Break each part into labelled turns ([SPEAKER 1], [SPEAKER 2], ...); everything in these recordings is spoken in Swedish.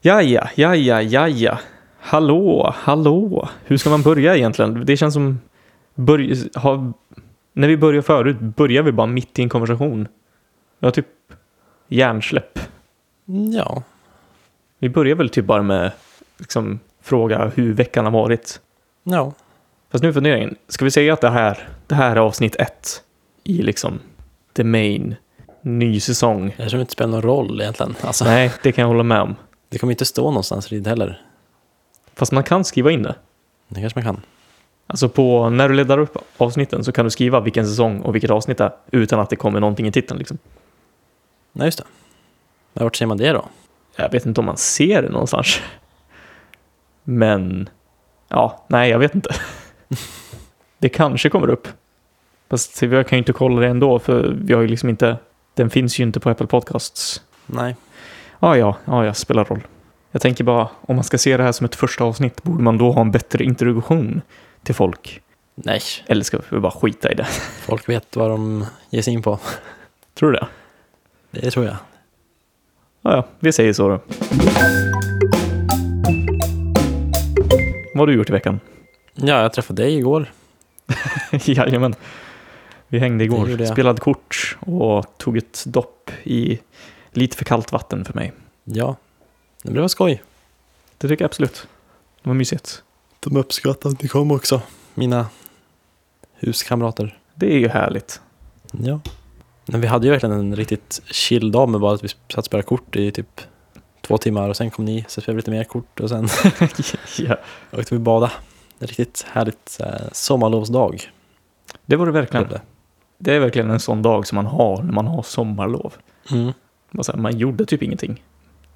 [SPEAKER 1] Jaja, jaja, jaja. Hallå, hallå. Hur ska man börja egentligen? Det känns som... Börj- ha, när vi började förut börjar vi bara mitt i en konversation. Jag har typ hjärnsläpp.
[SPEAKER 2] Ja.
[SPEAKER 1] Vi börjar väl typ bara med liksom, fråga hur veckan har varit.
[SPEAKER 2] Ja.
[SPEAKER 1] Fast nu är funderingen, ska vi säga att det här, det här är avsnitt ett i liksom the main, ny säsong?
[SPEAKER 2] Jag tror inte det spelar någon roll egentligen. Alltså,
[SPEAKER 1] Nej, det kan jag hålla med om.
[SPEAKER 2] det kommer inte stå någonstans rid heller.
[SPEAKER 1] Fast man kan skriva in det.
[SPEAKER 2] Det kanske man kan.
[SPEAKER 1] Alltså på, när du laddar upp avsnitten så kan du skriva vilken säsong och vilket avsnitt det är utan att det kommer någonting i titeln. Liksom.
[SPEAKER 2] Nej, just det. Men vart ser man det då?
[SPEAKER 1] Jag vet inte om man ser det någonstans. Men, ja, nej jag vet inte. Det kanske kommer upp. Fast jag kan ju inte kolla det ändå för vi har ju liksom inte, den finns ju inte på Apple Podcasts.
[SPEAKER 2] Nej.
[SPEAKER 1] Ah, ja, ah, ja, spelar roll. Jag tänker bara, om man ska se det här som ett första avsnitt, borde man då ha en bättre introduktion till folk?
[SPEAKER 2] Nej,
[SPEAKER 1] Eller ska vi bara skita i det?
[SPEAKER 2] folk vet vad de ger sig in på.
[SPEAKER 1] Tror du det?
[SPEAKER 2] Det tror jag.
[SPEAKER 1] Ah, ja, vi säger så då. Vad har du gjort i veckan?
[SPEAKER 2] Ja, jag träffade dig igår.
[SPEAKER 1] Jajamän. Vi hängde
[SPEAKER 2] Det gjorde
[SPEAKER 1] igår,
[SPEAKER 2] jag.
[SPEAKER 1] spelade kort och tog ett dopp i lite för kallt vatten för mig.
[SPEAKER 2] Ja. Men det var skoj.
[SPEAKER 1] Det tycker jag absolut. Det var mysigt.
[SPEAKER 2] De uppskattade att ni kom också. Mina huskamrater.
[SPEAKER 1] Det är ju härligt.
[SPEAKER 2] Ja. Men vi hade ju verkligen en riktigt chill dag med bara att vi satt och spelade kort i typ två timmar och sen kom ni, så spelade vi lite mer kort och sen
[SPEAKER 1] ja.
[SPEAKER 2] åkte vi bada. En riktigt härligt så här, sommarlovsdag.
[SPEAKER 1] Det var det verkligen.
[SPEAKER 2] blev det.
[SPEAKER 1] Det är verkligen en sån dag som man har när man har sommarlov.
[SPEAKER 2] Mm.
[SPEAKER 1] Bara så här, man gjorde typ ingenting.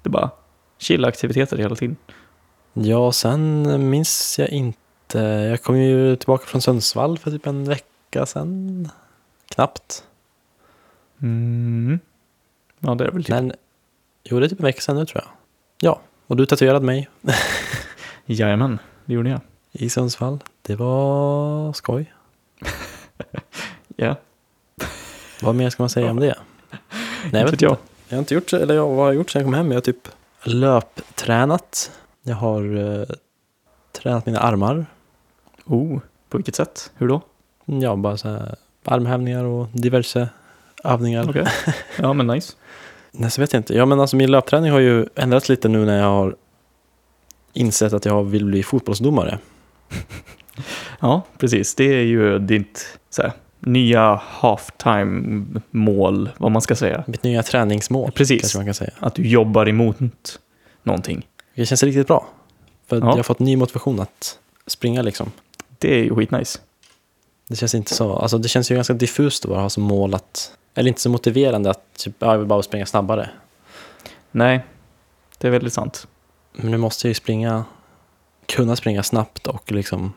[SPEAKER 1] Det bara chilla aktiviteter hela tiden.
[SPEAKER 2] Ja, sen minns jag inte. Jag kom ju tillbaka från Sundsvall för typ en vecka sen. Knappt.
[SPEAKER 1] Mm. Ja, det är väl typ.
[SPEAKER 2] Nej, jo, det är typ en vecka sen nu tror jag. Ja, och du tatuerade mig
[SPEAKER 1] Jajamän, det gjorde jag.
[SPEAKER 2] i Sundsvall. Det var skoj.
[SPEAKER 1] Ja,
[SPEAKER 2] Vad mer ska man säga om det? Nej,
[SPEAKER 1] inte
[SPEAKER 2] jag,
[SPEAKER 1] vet
[SPEAKER 2] vet,
[SPEAKER 1] jag.
[SPEAKER 2] jag har inte gjort, eller jag, vad har jag gjort sen jag kom hem? Jag har typ löptränat. Jag har eh, tränat mina armar.
[SPEAKER 1] Oh, på vilket sätt? Hur då?
[SPEAKER 2] Ja, bara så här armhävningar och diverse övningar.
[SPEAKER 1] Okej. Ja, men nice.
[SPEAKER 2] Nej, så vet jag inte. Ja, men alltså min löpträning har ju ändrats lite nu när jag har insett att jag vill bli fotbollsdomare.
[SPEAKER 1] Ja, precis. Det är ju ditt så här, nya halftime-mål, vad man ska säga.
[SPEAKER 2] Mitt nya träningsmål,
[SPEAKER 1] Precis.
[SPEAKER 2] kanske man kan säga.
[SPEAKER 1] Att du jobbar emot någonting.
[SPEAKER 2] Det känns riktigt bra. För att
[SPEAKER 1] Ja.
[SPEAKER 2] jag har fått ny motivation att springa liksom.
[SPEAKER 1] Det är ju skitnice.
[SPEAKER 2] Det känns inte så, alltså det känns ju ganska diffust att bara ha som mål att, eller inte så motiverande att typ, ja, jag vill bara springa snabbare.
[SPEAKER 1] Nej, det är väldigt sant.
[SPEAKER 2] Men nu måste jag ju springa, kunna springa snabbt och liksom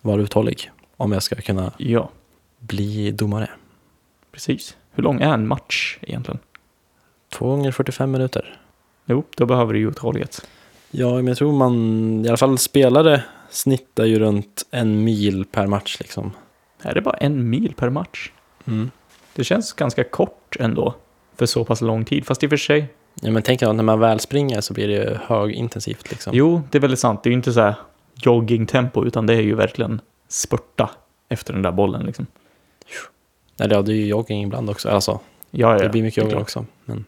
[SPEAKER 2] vara uthållig om jag ska kunna
[SPEAKER 1] Ja,
[SPEAKER 2] bli domare.
[SPEAKER 1] precis. Hur lång är en match egentligen?
[SPEAKER 2] Två gånger 45 minuter.
[SPEAKER 1] Jo, då behöver du ju uthållighet.
[SPEAKER 2] Ja, men jag tror man, i alla fall spelare, snittar ju runt en mil per match liksom.
[SPEAKER 1] Är det bara en mil per match?
[SPEAKER 2] Mm.
[SPEAKER 1] Det känns ganska kort ändå för så pass lång tid. Fast i och för sig,
[SPEAKER 2] Ja, men tänk dig att när man väl springer så blir det ju högintensivt liksom.
[SPEAKER 1] jo, det är väldigt sant. Det är ju inte så här joggingtempo utan det är ju verkligen spurta efter den där bollen liksom.
[SPEAKER 2] Eller ja, det är ju jogging ibland också. Alltså,
[SPEAKER 1] Ja, ja, ja,
[SPEAKER 2] det blir mycket
[SPEAKER 1] är
[SPEAKER 2] jogging
[SPEAKER 1] klart.
[SPEAKER 2] också. Men,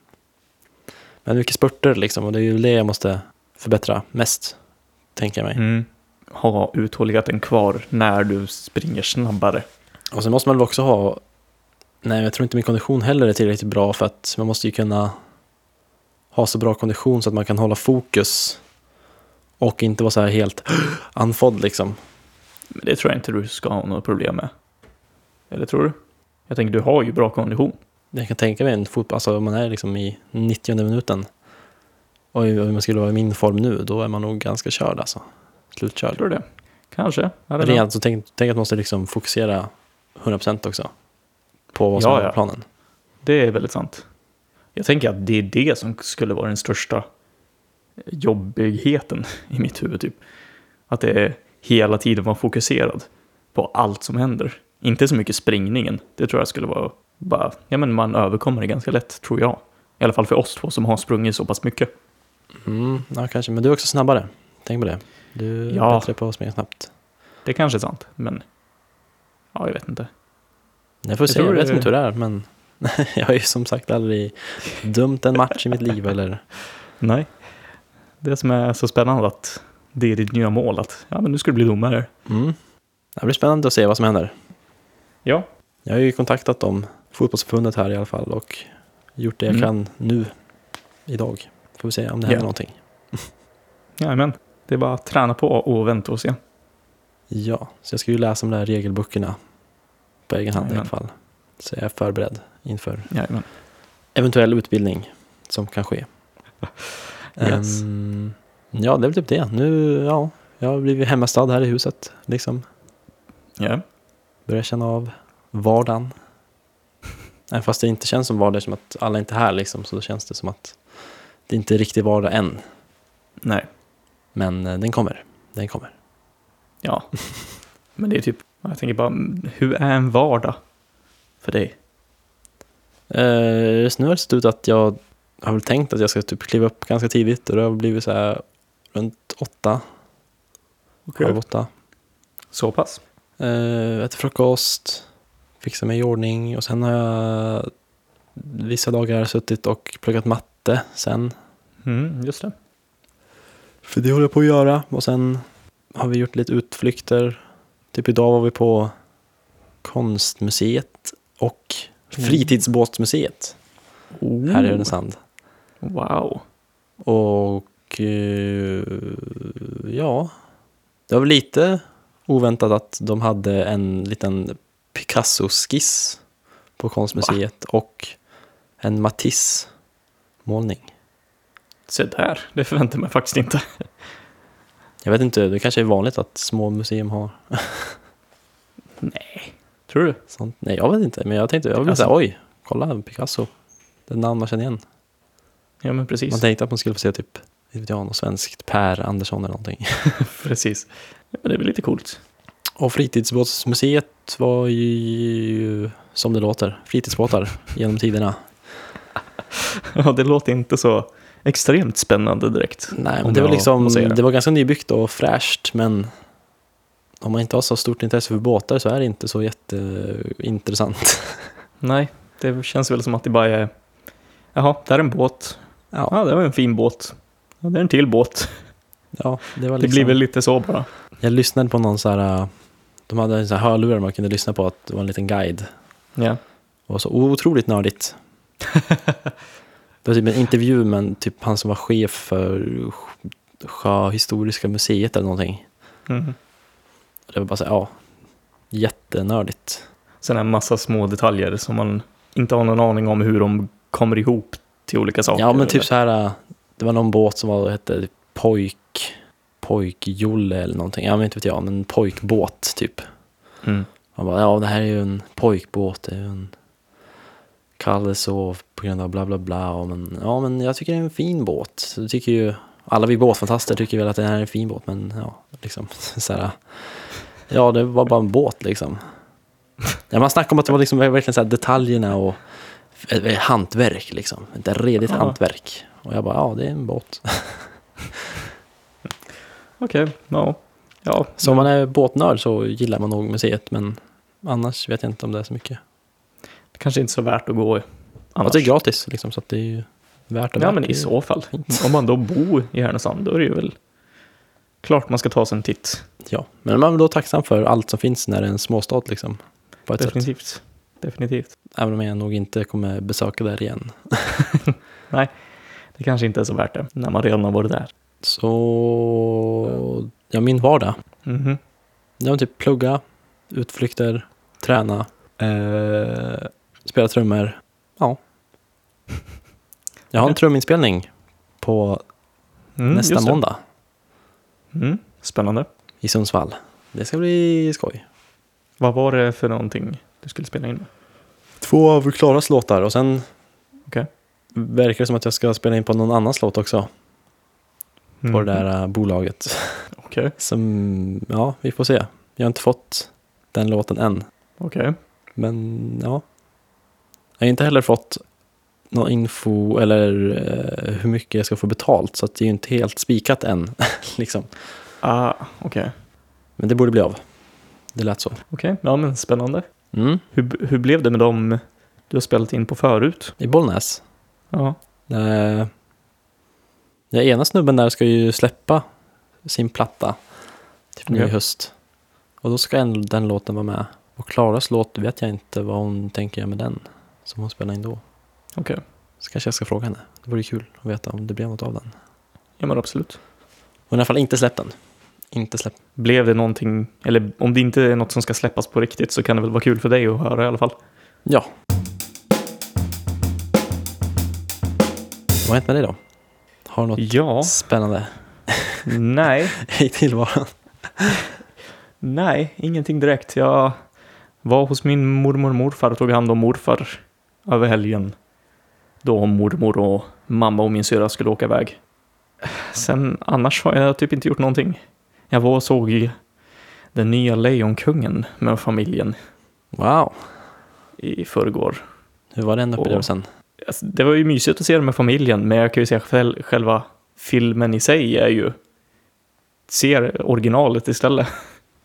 [SPEAKER 2] men mycket spurter liksom och det är ju det jag måste förbättra mest, tänker jag mig.
[SPEAKER 1] Mm. Ha uthålligheten kvar när du springer snabbare.
[SPEAKER 2] Och sen måste man väl också ha, nej jag tror inte min kondition heller är tillräckligt bra för att man måste ju kunna ha så bra kondition så att man kan hålla fokus och inte vara så här helt andfådd liksom.
[SPEAKER 1] Men det tror jag inte du ska ha något problem med. Eller tror du? Jag tänker, du har ju bra kondition.
[SPEAKER 2] Jag kan tänka mig en fotboll, alltså om man är liksom i 90 minuten och om man skulle vara i min form nu, då är man nog ganska körd alltså. Slutkörd.
[SPEAKER 1] Tror du det? Kanske. Jag vet inte.
[SPEAKER 2] Rent, så tänk, tänk att man måste liksom fokusera 100% också på vad som
[SPEAKER 1] Ja,
[SPEAKER 2] är
[SPEAKER 1] ja.
[SPEAKER 2] på planen.
[SPEAKER 1] Det är väldigt sant. Jag tänker att det är det som skulle vara den största jobbigheten i mitt huvud. Typ. Att det är hela tiden vara fokuserad på allt som händer. Inte så mycket springningen. Det tror jag skulle vara bara, ja men man överkommer det ganska lätt, tror jag. I alla fall för oss två som har sprungit så pass mycket.
[SPEAKER 2] Mm, ja, kanske. Men du är också snabbare. Tänk på det. Du är
[SPEAKER 1] Ja.
[SPEAKER 2] bättre på att springa snabbt.
[SPEAKER 1] Det kanske är sant, men... Ja, jag vet inte.
[SPEAKER 2] Jag får
[SPEAKER 1] Jag
[SPEAKER 2] se, jag
[SPEAKER 1] tror
[SPEAKER 2] vet
[SPEAKER 1] det-
[SPEAKER 2] inte hur det är, men jag har ju som sagt aldrig dömt en match i mitt liv eller
[SPEAKER 1] Nej. Det som är så spännande att det är ditt nya mål att ja, men nu ska du bli domare.
[SPEAKER 2] Mm. Det blir spännande att se vad som händer.
[SPEAKER 1] Ja.
[SPEAKER 2] Jag har ju kontaktat dem, fotbollsförbundet här i alla fall, och gjort det jag
[SPEAKER 1] Mm.
[SPEAKER 2] kan nu, idag. Får vi se om det händer
[SPEAKER 1] Ja.
[SPEAKER 2] någonting.
[SPEAKER 1] Jajamän. Det är bara att träna på och vänta och se.
[SPEAKER 2] Ja, så jag ska ju läsa om de där regelböckerna på egen hand i alla
[SPEAKER 1] Jajamän.
[SPEAKER 2] fall. Så jag är förberedd inför
[SPEAKER 1] Jajamän.
[SPEAKER 2] eventuell utbildning som kan ske.
[SPEAKER 1] Yes.
[SPEAKER 2] Ehm, ja, det är väl typ det. Nu, ja, jag har blivit hemmastad här i huset. Liksom.
[SPEAKER 1] Ja.
[SPEAKER 2] Börjar känna av vardagen. Även fast det inte känns som vardag, som att alla inte är här liksom, så då känns det som att det inte är riktig vardag än.
[SPEAKER 1] Nej.
[SPEAKER 2] Men eh, den kommer. Den kommer.
[SPEAKER 1] Ja. men det är typ, jag tänker bara, hur är en vardag för dig?
[SPEAKER 2] Eh, Just nu har det sett ut att jag har väl tänkt att jag ska typ kliva upp ganska tidigt och det har blivit så här runt åtta, halv åtta.
[SPEAKER 1] Så pass?
[SPEAKER 2] Uh, äter frukost, fixar mig i ordning och sen har jag vissa dagar suttit och pluggat matte sen.
[SPEAKER 1] Mm, just det.
[SPEAKER 2] För det håller jag på att göra och sen har vi gjort lite utflykter. Typ idag var vi på konstmuseet och
[SPEAKER 1] Mm.
[SPEAKER 2] fritidsbåtsmuseet
[SPEAKER 1] Oh.
[SPEAKER 2] här i Härnösand.
[SPEAKER 1] Wow.
[SPEAKER 2] Och eh, ja, det var väl lite oväntat att de hade en liten Picasso-skiss på konstmuseet och en Matisse-målning.
[SPEAKER 1] Se där, det förväntar man faktiskt inte.
[SPEAKER 2] Jag vet inte, det kanske är vanligt att små museum har
[SPEAKER 1] Tror du?
[SPEAKER 2] sånt. Nej, jag vet inte, men jag tänkte, jag blev
[SPEAKER 1] Picasso.
[SPEAKER 2] såhär, oj, kolla Picasso. Det är namn man känner igen.
[SPEAKER 1] Ja, men precis.
[SPEAKER 2] Man tänkte att man skulle få se typ, inte vet jag, något svenskt, Per Andersson eller någonting.
[SPEAKER 1] precis. Ja, men det är väl lite coolt.
[SPEAKER 2] Och fritidsbåtsmuseet var ju som det låter, fritidsbåtar genom tiderna.
[SPEAKER 1] Ja, det låter inte så extremt spännande direkt.
[SPEAKER 2] Nej, men
[SPEAKER 1] Om
[SPEAKER 2] det var
[SPEAKER 1] jag
[SPEAKER 2] liksom,
[SPEAKER 1] får säga det.
[SPEAKER 2] det var ganska nybyggt och fräscht, men om man inte har så stort intresse för båtar så är det inte så jätteintressant.
[SPEAKER 1] Nej, det känns väl som att det bara är... Jaha, där är en båt.
[SPEAKER 2] Ja,
[SPEAKER 1] Ja, det var en fin båt. Ja, det är en till båt.
[SPEAKER 2] ja det var
[SPEAKER 1] Det
[SPEAKER 2] liksom,
[SPEAKER 1] blir väl lite så bara.
[SPEAKER 2] Jag lyssnade på någon så här, äh, de hade en sån här hörlurar man kunde lyssna på, att det var en liten guide.
[SPEAKER 1] Ja.
[SPEAKER 2] Det var så otroligt nördigt. Det var typ en intervju med typ han som var chef för Sjöhistoriska museet eller någonting.
[SPEAKER 1] Mm.
[SPEAKER 2] Och Det var bara så här, ja, jättenördigt.
[SPEAKER 1] Sen en massa små detaljer som man inte har någon aning om hur de kommer ihop till olika saker.
[SPEAKER 2] ja, men typ så här, äh, det var någon båt som var, hette typ pojk, pojkjolle eller någonting. Ja, men inte vet jag, men pojkbåt typ.
[SPEAKER 1] Mm.
[SPEAKER 2] Man bara, ja, det här är ju en pojkbåt, det är ju en Kalle sov på grund av bla bla bla. Och men, ja, men jag tycker det är en fin båt. Så det tycker ju, alla vi båtfantaster tycker väl att det här är en fin båt, men ja, liksom så här, Ja, det var bara en båt liksom. Ja, man snackar om att det var liksom verkligen så här detaljerna och eh, eh, hantverk liksom. Ett redigt
[SPEAKER 1] Ja.
[SPEAKER 2] hantverk. Och jag bara, ja, det är en båt.
[SPEAKER 1] Okej, ja. Ja,
[SPEAKER 2] Så om man är båtnörd så gillar man nog museet, men annars vet jag inte om det är så mycket.
[SPEAKER 1] det kanske inte är så värt att gå
[SPEAKER 2] Annars.
[SPEAKER 1] annars.
[SPEAKER 2] det är gratis liksom, så att det är ju värt det.
[SPEAKER 1] ja,
[SPEAKER 2] värt.
[SPEAKER 1] men
[SPEAKER 2] Det är
[SPEAKER 1] i
[SPEAKER 2] ju-
[SPEAKER 1] så fall. Om man då bor i Härnösand, då är det ju väl klart man ska ta sig en titt.
[SPEAKER 2] Ja, men man är väl då tacksam för allt som finns när det är en småstad liksom. På ett sätt.
[SPEAKER 1] Definitivt. Definitivt.
[SPEAKER 2] Även om jag nog inte kommer besöka där igen.
[SPEAKER 1] Det kanske inte är så värt det när man redan har varit där.
[SPEAKER 2] Så, ja min vardag. Mm-hmm.
[SPEAKER 1] Mhm.
[SPEAKER 2] Det var typ plugga, utflykter, träna, eh, spela trummor. Ja. Jag har en truminspelning på
[SPEAKER 1] Mm,
[SPEAKER 2] nästa
[SPEAKER 1] just det.
[SPEAKER 2] måndag
[SPEAKER 1] Mm. Spännande.
[SPEAKER 2] i Sundsvall. Det ska bli skoj.
[SPEAKER 1] Vad var det för någonting du skulle spela in med?
[SPEAKER 2] Två av Klaras låtar och sen
[SPEAKER 1] Okej.
[SPEAKER 2] verkar det som att jag ska spela in på någon annans låt också. På det
[SPEAKER 1] Mhm.
[SPEAKER 2] där äh, bolaget.
[SPEAKER 1] Okej,
[SPEAKER 2] Som, ja, vi får se. Jag har inte fått den låten än.
[SPEAKER 1] okej.
[SPEAKER 2] Men ja. Jag har inte heller fått någon info eller eh, hur mycket jag ska få betalt. Så att det är ju inte helt spikat än. liksom.
[SPEAKER 1] Ah, okej.
[SPEAKER 2] Men det borde bli av. Det lät så.
[SPEAKER 1] Okej, ja men spännande.
[SPEAKER 2] Mm.
[SPEAKER 1] Hur, hur blev det med dem du har spelat in på förut?
[SPEAKER 2] I Bollnäs.
[SPEAKER 1] Ja.
[SPEAKER 2] Eh, ja, ena snubben där ska ju släppa sin platta typ nu
[SPEAKER 1] Ja.
[SPEAKER 2] i höst. Och då ska en, den låten vara med. Och Klaras låt vet jag inte vad hon tänker göra med den som hon spelar in då.
[SPEAKER 1] Okej.
[SPEAKER 2] Så kanske jag ska fråga henne. Det vore kul att veta om det blev något av den.
[SPEAKER 1] Ja men absolut.
[SPEAKER 2] Hon har i alla fall inte släppt den. Inte släppt.
[SPEAKER 1] Blev det någonting, eller om det inte är något som ska släppas på riktigt så kan det väl vara kul för dig att höra i alla fall.
[SPEAKER 2] Ja. Vad har hänt med dig då? Har du något
[SPEAKER 1] Ja,
[SPEAKER 2] spännande
[SPEAKER 1] nej,
[SPEAKER 2] i tillvaron?
[SPEAKER 1] nej, ingenting direkt. Jag var hos min mormor och morfar och tog hand om morfar över helgen. Då mormor och mamma och min syrra skulle åka iväg. Sen annars har jag typ inte gjort någonting. Jag var och såg den nya Lejonkungen med familjen
[SPEAKER 2] Wow.
[SPEAKER 1] i förrgår.
[SPEAKER 2] Hur var den
[SPEAKER 1] Åh.
[SPEAKER 2] upplevelsen?
[SPEAKER 1] Alltså, det var ju mysigt att se det med familjen, men jag kan ju säga själv, själva filmen i sig är ju... Ser originalet istället.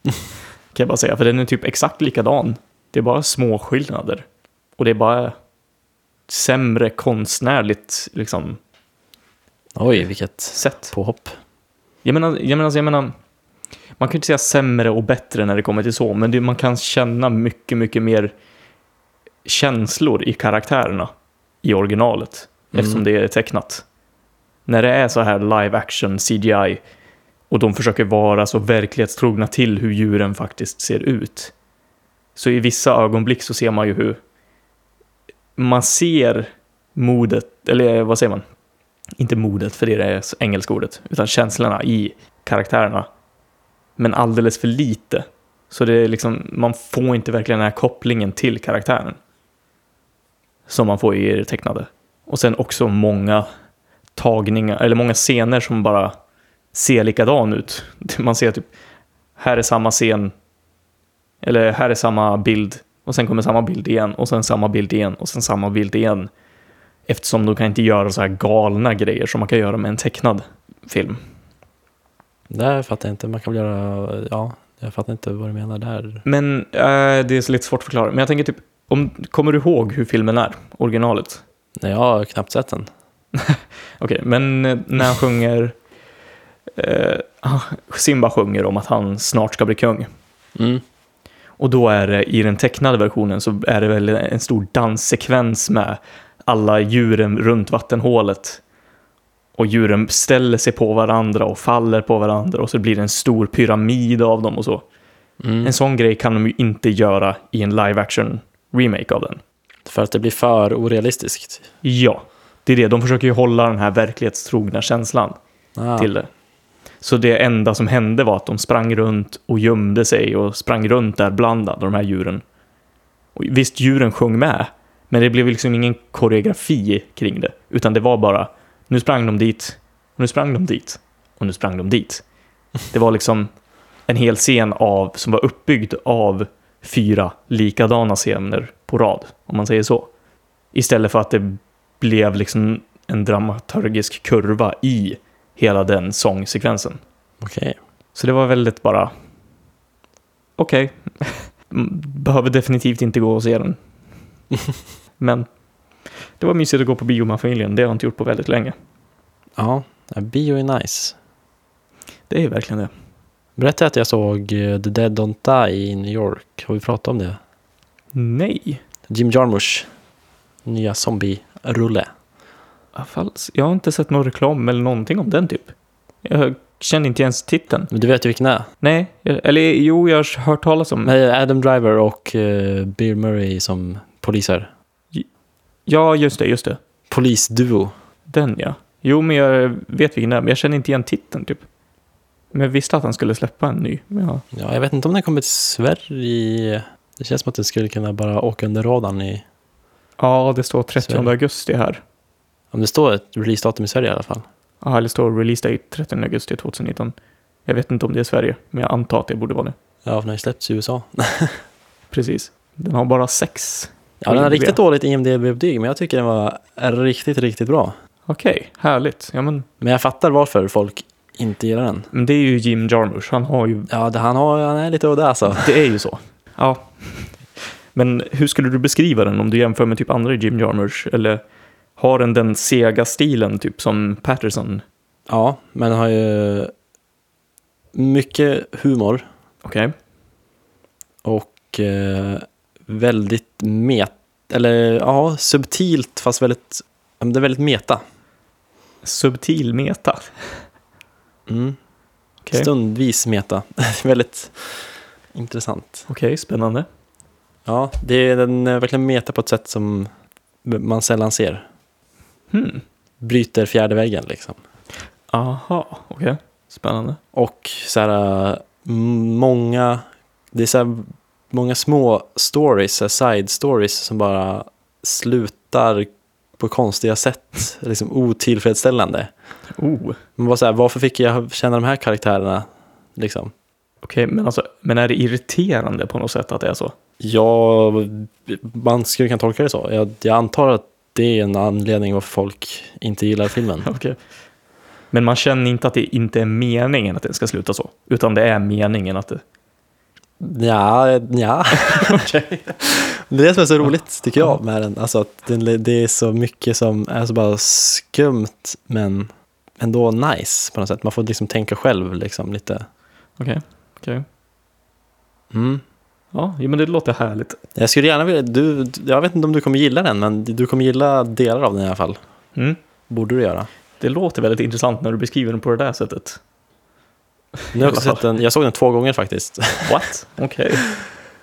[SPEAKER 1] kan jag bara säga, för den är typ exakt likadan. Det är bara små skillnader. Och det är bara sämre konstnärligt liksom,
[SPEAKER 2] Oj, vilket
[SPEAKER 1] sätt.
[SPEAKER 2] påhopp.
[SPEAKER 1] Jag menar, jag menar, jag menar, man kan ju inte säga sämre och bättre när det kommer till så, men det, man kan känna mycket, mycket mer känslor i karaktärerna i originalet,
[SPEAKER 2] Mm.
[SPEAKER 1] eftersom det är tecknat. När det är så här live action, CGI, och de försöker vara så verklighetstrogna till hur djuren faktiskt ser ut, så i vissa ögonblick så ser man ju hur man ser modet, eller vad säger man? Inte modet, för det är det engelska ordet, utan känslorna i karaktärerna. Men alldeles för lite. Så det är liksom, man får inte verkligen den här kopplingen till karaktären. Som man får i det tecknade. Och sen också många tagningar, eller många scener som bara ser likadan ut. Man ser typ, här är samma scen, eller här är samma bild, och sen kommer samma bild igen, och sen samma bild igen, och sen samma bild igen. Eftersom de kan inte göra så här galna grejer som man kan göra med en tecknad film.
[SPEAKER 2] Där fattar jag inte. Man kan väl göra, ja, jag fattar inte vad du menar där.
[SPEAKER 1] Men eh, det är så lite svårt att förklara. Men jag tänker typ, om, kommer du ihåg hur filmen är? Originalet?
[SPEAKER 2] Nej, jag har knappt sett den.
[SPEAKER 1] Okej, men eh, när han sjunger... Eh, ah, Simba sjunger om att han snart ska bli kung.
[SPEAKER 2] Mm.
[SPEAKER 1] Och då är det, i den tecknade versionen så är det väl en stor danssekvens med alla djuren runt vattenhålet. Och djuren ställer sig på varandra och faller på varandra och så blir det en stor pyramid av dem och så.
[SPEAKER 2] Mm.
[SPEAKER 1] En sån grej kan de ju inte göra i en live action remake av den.
[SPEAKER 2] För att det blir för orealistiskt.
[SPEAKER 1] Ja, det är det. De försöker ju hålla den här verklighetstrogna känslan
[SPEAKER 2] Ah.
[SPEAKER 1] till det. Så det enda som hände var att de sprang runt och gömde sig och sprang runt där bland alla de här djuren. Och visst, djuren sjöng med, men det blev liksom ingen koreografi kring det, utan det var bara nu sprang de dit, och nu sprang de dit, och nu sprang de dit. Det var liksom en hel scen av, som var uppbyggd av fyra likadana scener på rad, om man säger så. Istället för att det blev liksom en dramaturgisk kurva i hela den sångsekvensen.
[SPEAKER 2] Okej.
[SPEAKER 1] Så det var väldigt bara, okej, behöver definitivt inte gå och se den. Men det var mysigt att gå på bio med familjen, det har jag inte gjort på väldigt länge.
[SPEAKER 2] Ja, Ja, bio är nice.
[SPEAKER 1] Det är verkligen det.
[SPEAKER 2] Berättade jag att jag såg eh, The Dead Don't Die i New York? Har vi pratat om det?
[SPEAKER 1] Nej,
[SPEAKER 2] Jim Jarmusch, nya zombie-rulle.
[SPEAKER 1] falskt. Jag har inte sett någon reklam eller någonting om den typ. Jag känner inte ens titeln.
[SPEAKER 2] Men du vet ju vilken det är?
[SPEAKER 1] Nej, jag- eller jo, jag har hört talas om den.
[SPEAKER 2] Nej, Adam Driver och uh, Bill Murray som poliser.
[SPEAKER 1] Ja, just det, just det.
[SPEAKER 2] Polisduo.
[SPEAKER 1] Den ja. Jo, men jag vet vilken det är, men jag känner inte igen titeln typ. Men jag visste att han skulle släppa en ny. Men ja.
[SPEAKER 2] Ja, jag vet inte om den kommer till Sverige. Det känns som att den skulle kunna bara åka under radarn i...
[SPEAKER 1] ja, det står 30
[SPEAKER 2] Sverige.
[SPEAKER 1] augusti här.
[SPEAKER 2] Om det står ett releasedatum i Sverige i alla fall.
[SPEAKER 1] Ja, eller står release date 30 augusti 2019. Jag vet inte om det är Sverige, men jag antar att det borde vara det.
[SPEAKER 2] Ja, för den har ju släppts i USA.
[SPEAKER 1] Precis. Den har bara sex
[SPEAKER 2] Ja, den har riktigt dåligt IMDB-betyg, men jag tycker den var riktigt, riktigt bra.
[SPEAKER 1] Okej, härligt. Ja, men,
[SPEAKER 2] Men jag fattar varför folk inte gillar den.
[SPEAKER 1] men det är ju Jim Jarmusch. Han har ju...
[SPEAKER 2] Ja, det, han, har, han är lite udda alltså.
[SPEAKER 1] Det är ju så. Ja. Men hur skulle du beskriva den om du jämför med typ andra Jim Jarmusch? Eller har den den sega stilen typ som Patterson?
[SPEAKER 2] Ja, men den har ju mycket humor
[SPEAKER 1] Okej.
[SPEAKER 2] och eh, väldigt met... Eller ja, subtilt fast väldigt... ja, men Det är väldigt meta.
[SPEAKER 1] Subtil meta.
[SPEAKER 2] Mm.
[SPEAKER 1] Okej,
[SPEAKER 2] Stundvis meta. väldigt intressant.
[SPEAKER 1] Okej, spännande.
[SPEAKER 2] Ja, det är, den är verkligen meta på ett sätt som man sällan ser.
[SPEAKER 1] Hmm.
[SPEAKER 2] Bryter fjärde väggen liksom.
[SPEAKER 1] Aha, okej. Spännande.
[SPEAKER 2] Och så här, äh, många, det är så här, många små stories, så här side stories som bara slutar på konstiga sätt, liksom otillfredsställande.
[SPEAKER 1] Oh.
[SPEAKER 2] Man bara så här, varför fick jag känna de här karaktärerna? Liksom.
[SPEAKER 1] Okej, men, alltså, men är det irriterande på något sätt att det är så?
[SPEAKER 2] Ja, man skulle kunna tolka det så. Jag, jag antar att det är en anledning varför folk inte gillar filmen.
[SPEAKER 1] Okej. Men man känner inte att det inte är meningen att det ska sluta så, utan det är meningen att det...
[SPEAKER 2] Ja, ja. Det är det som är så roligt tycker jag med den. Alltså att den, det är så mycket som är så bara skumt men ändå nice på något sätt. Man får liksom tänka själv liksom lite.
[SPEAKER 1] Okej, okej.
[SPEAKER 2] Mm.
[SPEAKER 1] Ja, jo, men det låter härligt.
[SPEAKER 2] Jag skulle gärna vilja, du, jag vet inte om du kommer gilla den men du kommer gilla delar av den i alla fall.
[SPEAKER 1] Mm.
[SPEAKER 2] Borde du göra.
[SPEAKER 1] Det låter väldigt intressant när du beskriver den på det där sättet.
[SPEAKER 2] Nu har jag, också sett den, jag såg den två gånger faktiskt.
[SPEAKER 1] What? Okej.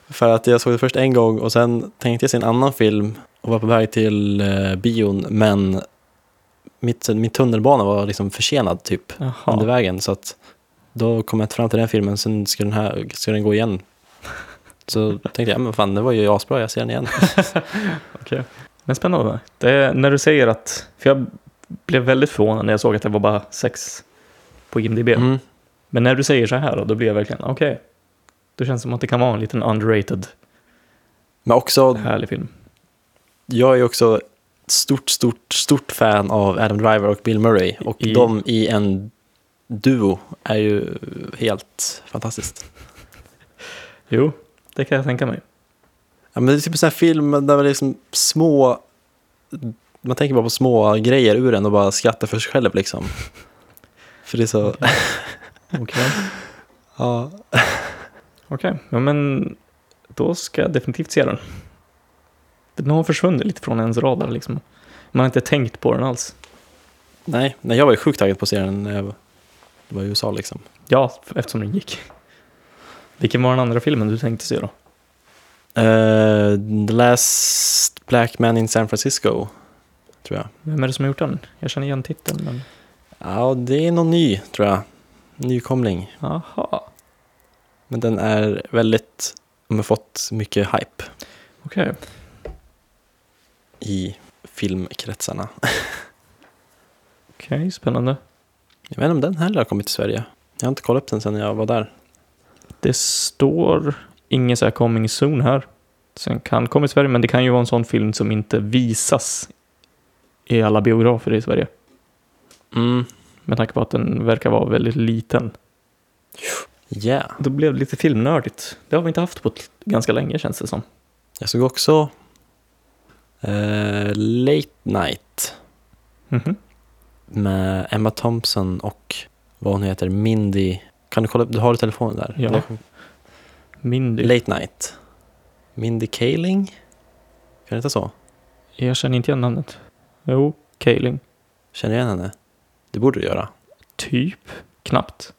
[SPEAKER 2] För att jag såg det först en gång och sen tänkte jag se en annan film och var på väg till eh, bion men mitt, min tunnelbana var liksom försenad typ under
[SPEAKER 1] Jaha.
[SPEAKER 2] vägen så att då kom jag inte fram till den filmen sen skulle den här skulle den gå igen. Så tänkte jag, men fan det var ju asbra, jag ser den igen.
[SPEAKER 1] Okej. Men spännande. Det är när du säger att... För jag blev väldigt förvånad när jag såg att det var bara sex på IMDB.
[SPEAKER 2] Mm.
[SPEAKER 1] Men när du säger så här då, då blir jag verkligen okej. Då känns det som att det kan vara en liten underrated,
[SPEAKER 2] Men också,
[SPEAKER 1] härlig film.
[SPEAKER 2] jag är ju också stort, stort, stort fan av Adam Driver och Bill Murray och
[SPEAKER 1] I-
[SPEAKER 2] de i en duo är ju helt fantastiskt.
[SPEAKER 1] Jo, det kan jag tänka mig.
[SPEAKER 2] Ja, men det är typ en sån här film där man liksom små... Man tänker bara på små grejer ur den och bara skrattar för sig själv liksom. För det är så...
[SPEAKER 1] Okej.
[SPEAKER 2] Ja,
[SPEAKER 1] Okej, ja, men då ska jag definitivt se den. Den har försvunnit lite från ens radar liksom. Man har inte tänkt på den alls.
[SPEAKER 2] nej, nej, jag var ju sjukt taggad på att se den när jag var i USA liksom.
[SPEAKER 1] Ja, eftersom den gick. Vilken var den andra filmen du tänkte se då?
[SPEAKER 2] Eh, The Last Black Man in San Francisco, tror jag.
[SPEAKER 1] Vem är det som har gjort den? Jag känner igen titeln, men...
[SPEAKER 2] Ja, det är någon ny, tror jag. Nykomling.
[SPEAKER 1] Aha,
[SPEAKER 2] Men den är väldigt... De har fått mycket hype
[SPEAKER 1] okej.
[SPEAKER 2] i filmkretsarna.
[SPEAKER 1] Okej, spännande.
[SPEAKER 2] Jag vet inte om den heller har kommit till Sverige. Jag har inte kollat upp den sedan jag var där.
[SPEAKER 1] Det står inget så här coming soon här. Sen kan komma i Sverige, men det kan ju vara en sån film som inte visas i alla biografer i Sverige.
[SPEAKER 2] Mm.
[SPEAKER 1] Med tanke på att den verkar vara väldigt liten.
[SPEAKER 2] Yeah.
[SPEAKER 1] Då blev det lite filmnördigt. Det har vi inte haft på ett, ganska länge känns det som.
[SPEAKER 2] Jag såg också eh, Late Night
[SPEAKER 1] Mhm.
[SPEAKER 2] med Emma Thompson och vad hon heter, Mindy. Kan du kolla upp, du har telefonen där?
[SPEAKER 1] Ja.
[SPEAKER 2] Eller-
[SPEAKER 1] Mindy.
[SPEAKER 2] Late Night. Mindy Kaling? Kan det heta så?
[SPEAKER 1] Jag känner inte igen namnet. Jo, Kaling.
[SPEAKER 2] Känner jag igen henne? Det borde du göra.
[SPEAKER 1] Typ. Knappt.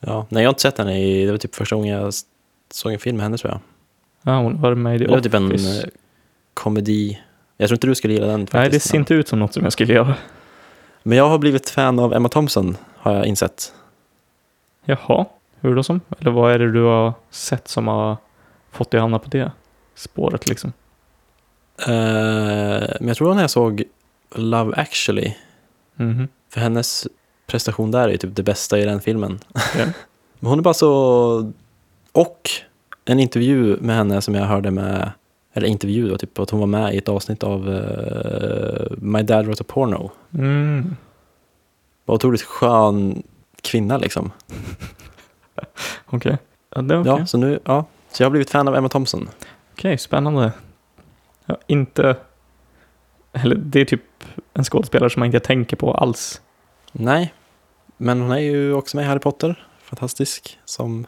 [SPEAKER 2] Ja. Nej, jag har inte sett henne i, det var typ första gången jag s- såg en film med henne tror jag.
[SPEAKER 1] Ja, hon var med i The
[SPEAKER 2] Det var typ en
[SPEAKER 1] Office.
[SPEAKER 2] eh, komedi. Jag tror inte du skulle gilla den faktiskt.
[SPEAKER 1] Nej, det ser inte ut som något som jag skulle göra.
[SPEAKER 2] Men jag har blivit fan av Emma Thompson, har jag insett.
[SPEAKER 1] Jaha, hur då som? Eller vad är det du har sett som har fått dig att hamna på det spåret liksom?
[SPEAKER 2] Eh, men jag tror när jag såg Love actually,
[SPEAKER 1] Mhm.
[SPEAKER 2] för hennes prestation där är ju typ det bästa i den filmen.
[SPEAKER 1] Ja.
[SPEAKER 2] Men hon är bara så... Och en intervju med henne som jag hörde med eller intervju då, typ att hon var med i ett avsnitt av eh, My Dad Wrote a Porno.
[SPEAKER 1] Mm.
[SPEAKER 2] Var otroligt skön kvinna liksom.
[SPEAKER 1] Okej. Ja, det är okej.
[SPEAKER 2] Ja, så nu, ja. Så jag har blivit fan av Emma Thompson.
[SPEAKER 1] Okej, spännande. Ja, inte... Eller det är typ en skådespelare som man inte tänker på alls.
[SPEAKER 2] Nej, men hon är ju också med i Harry Potter. Fantastisk, som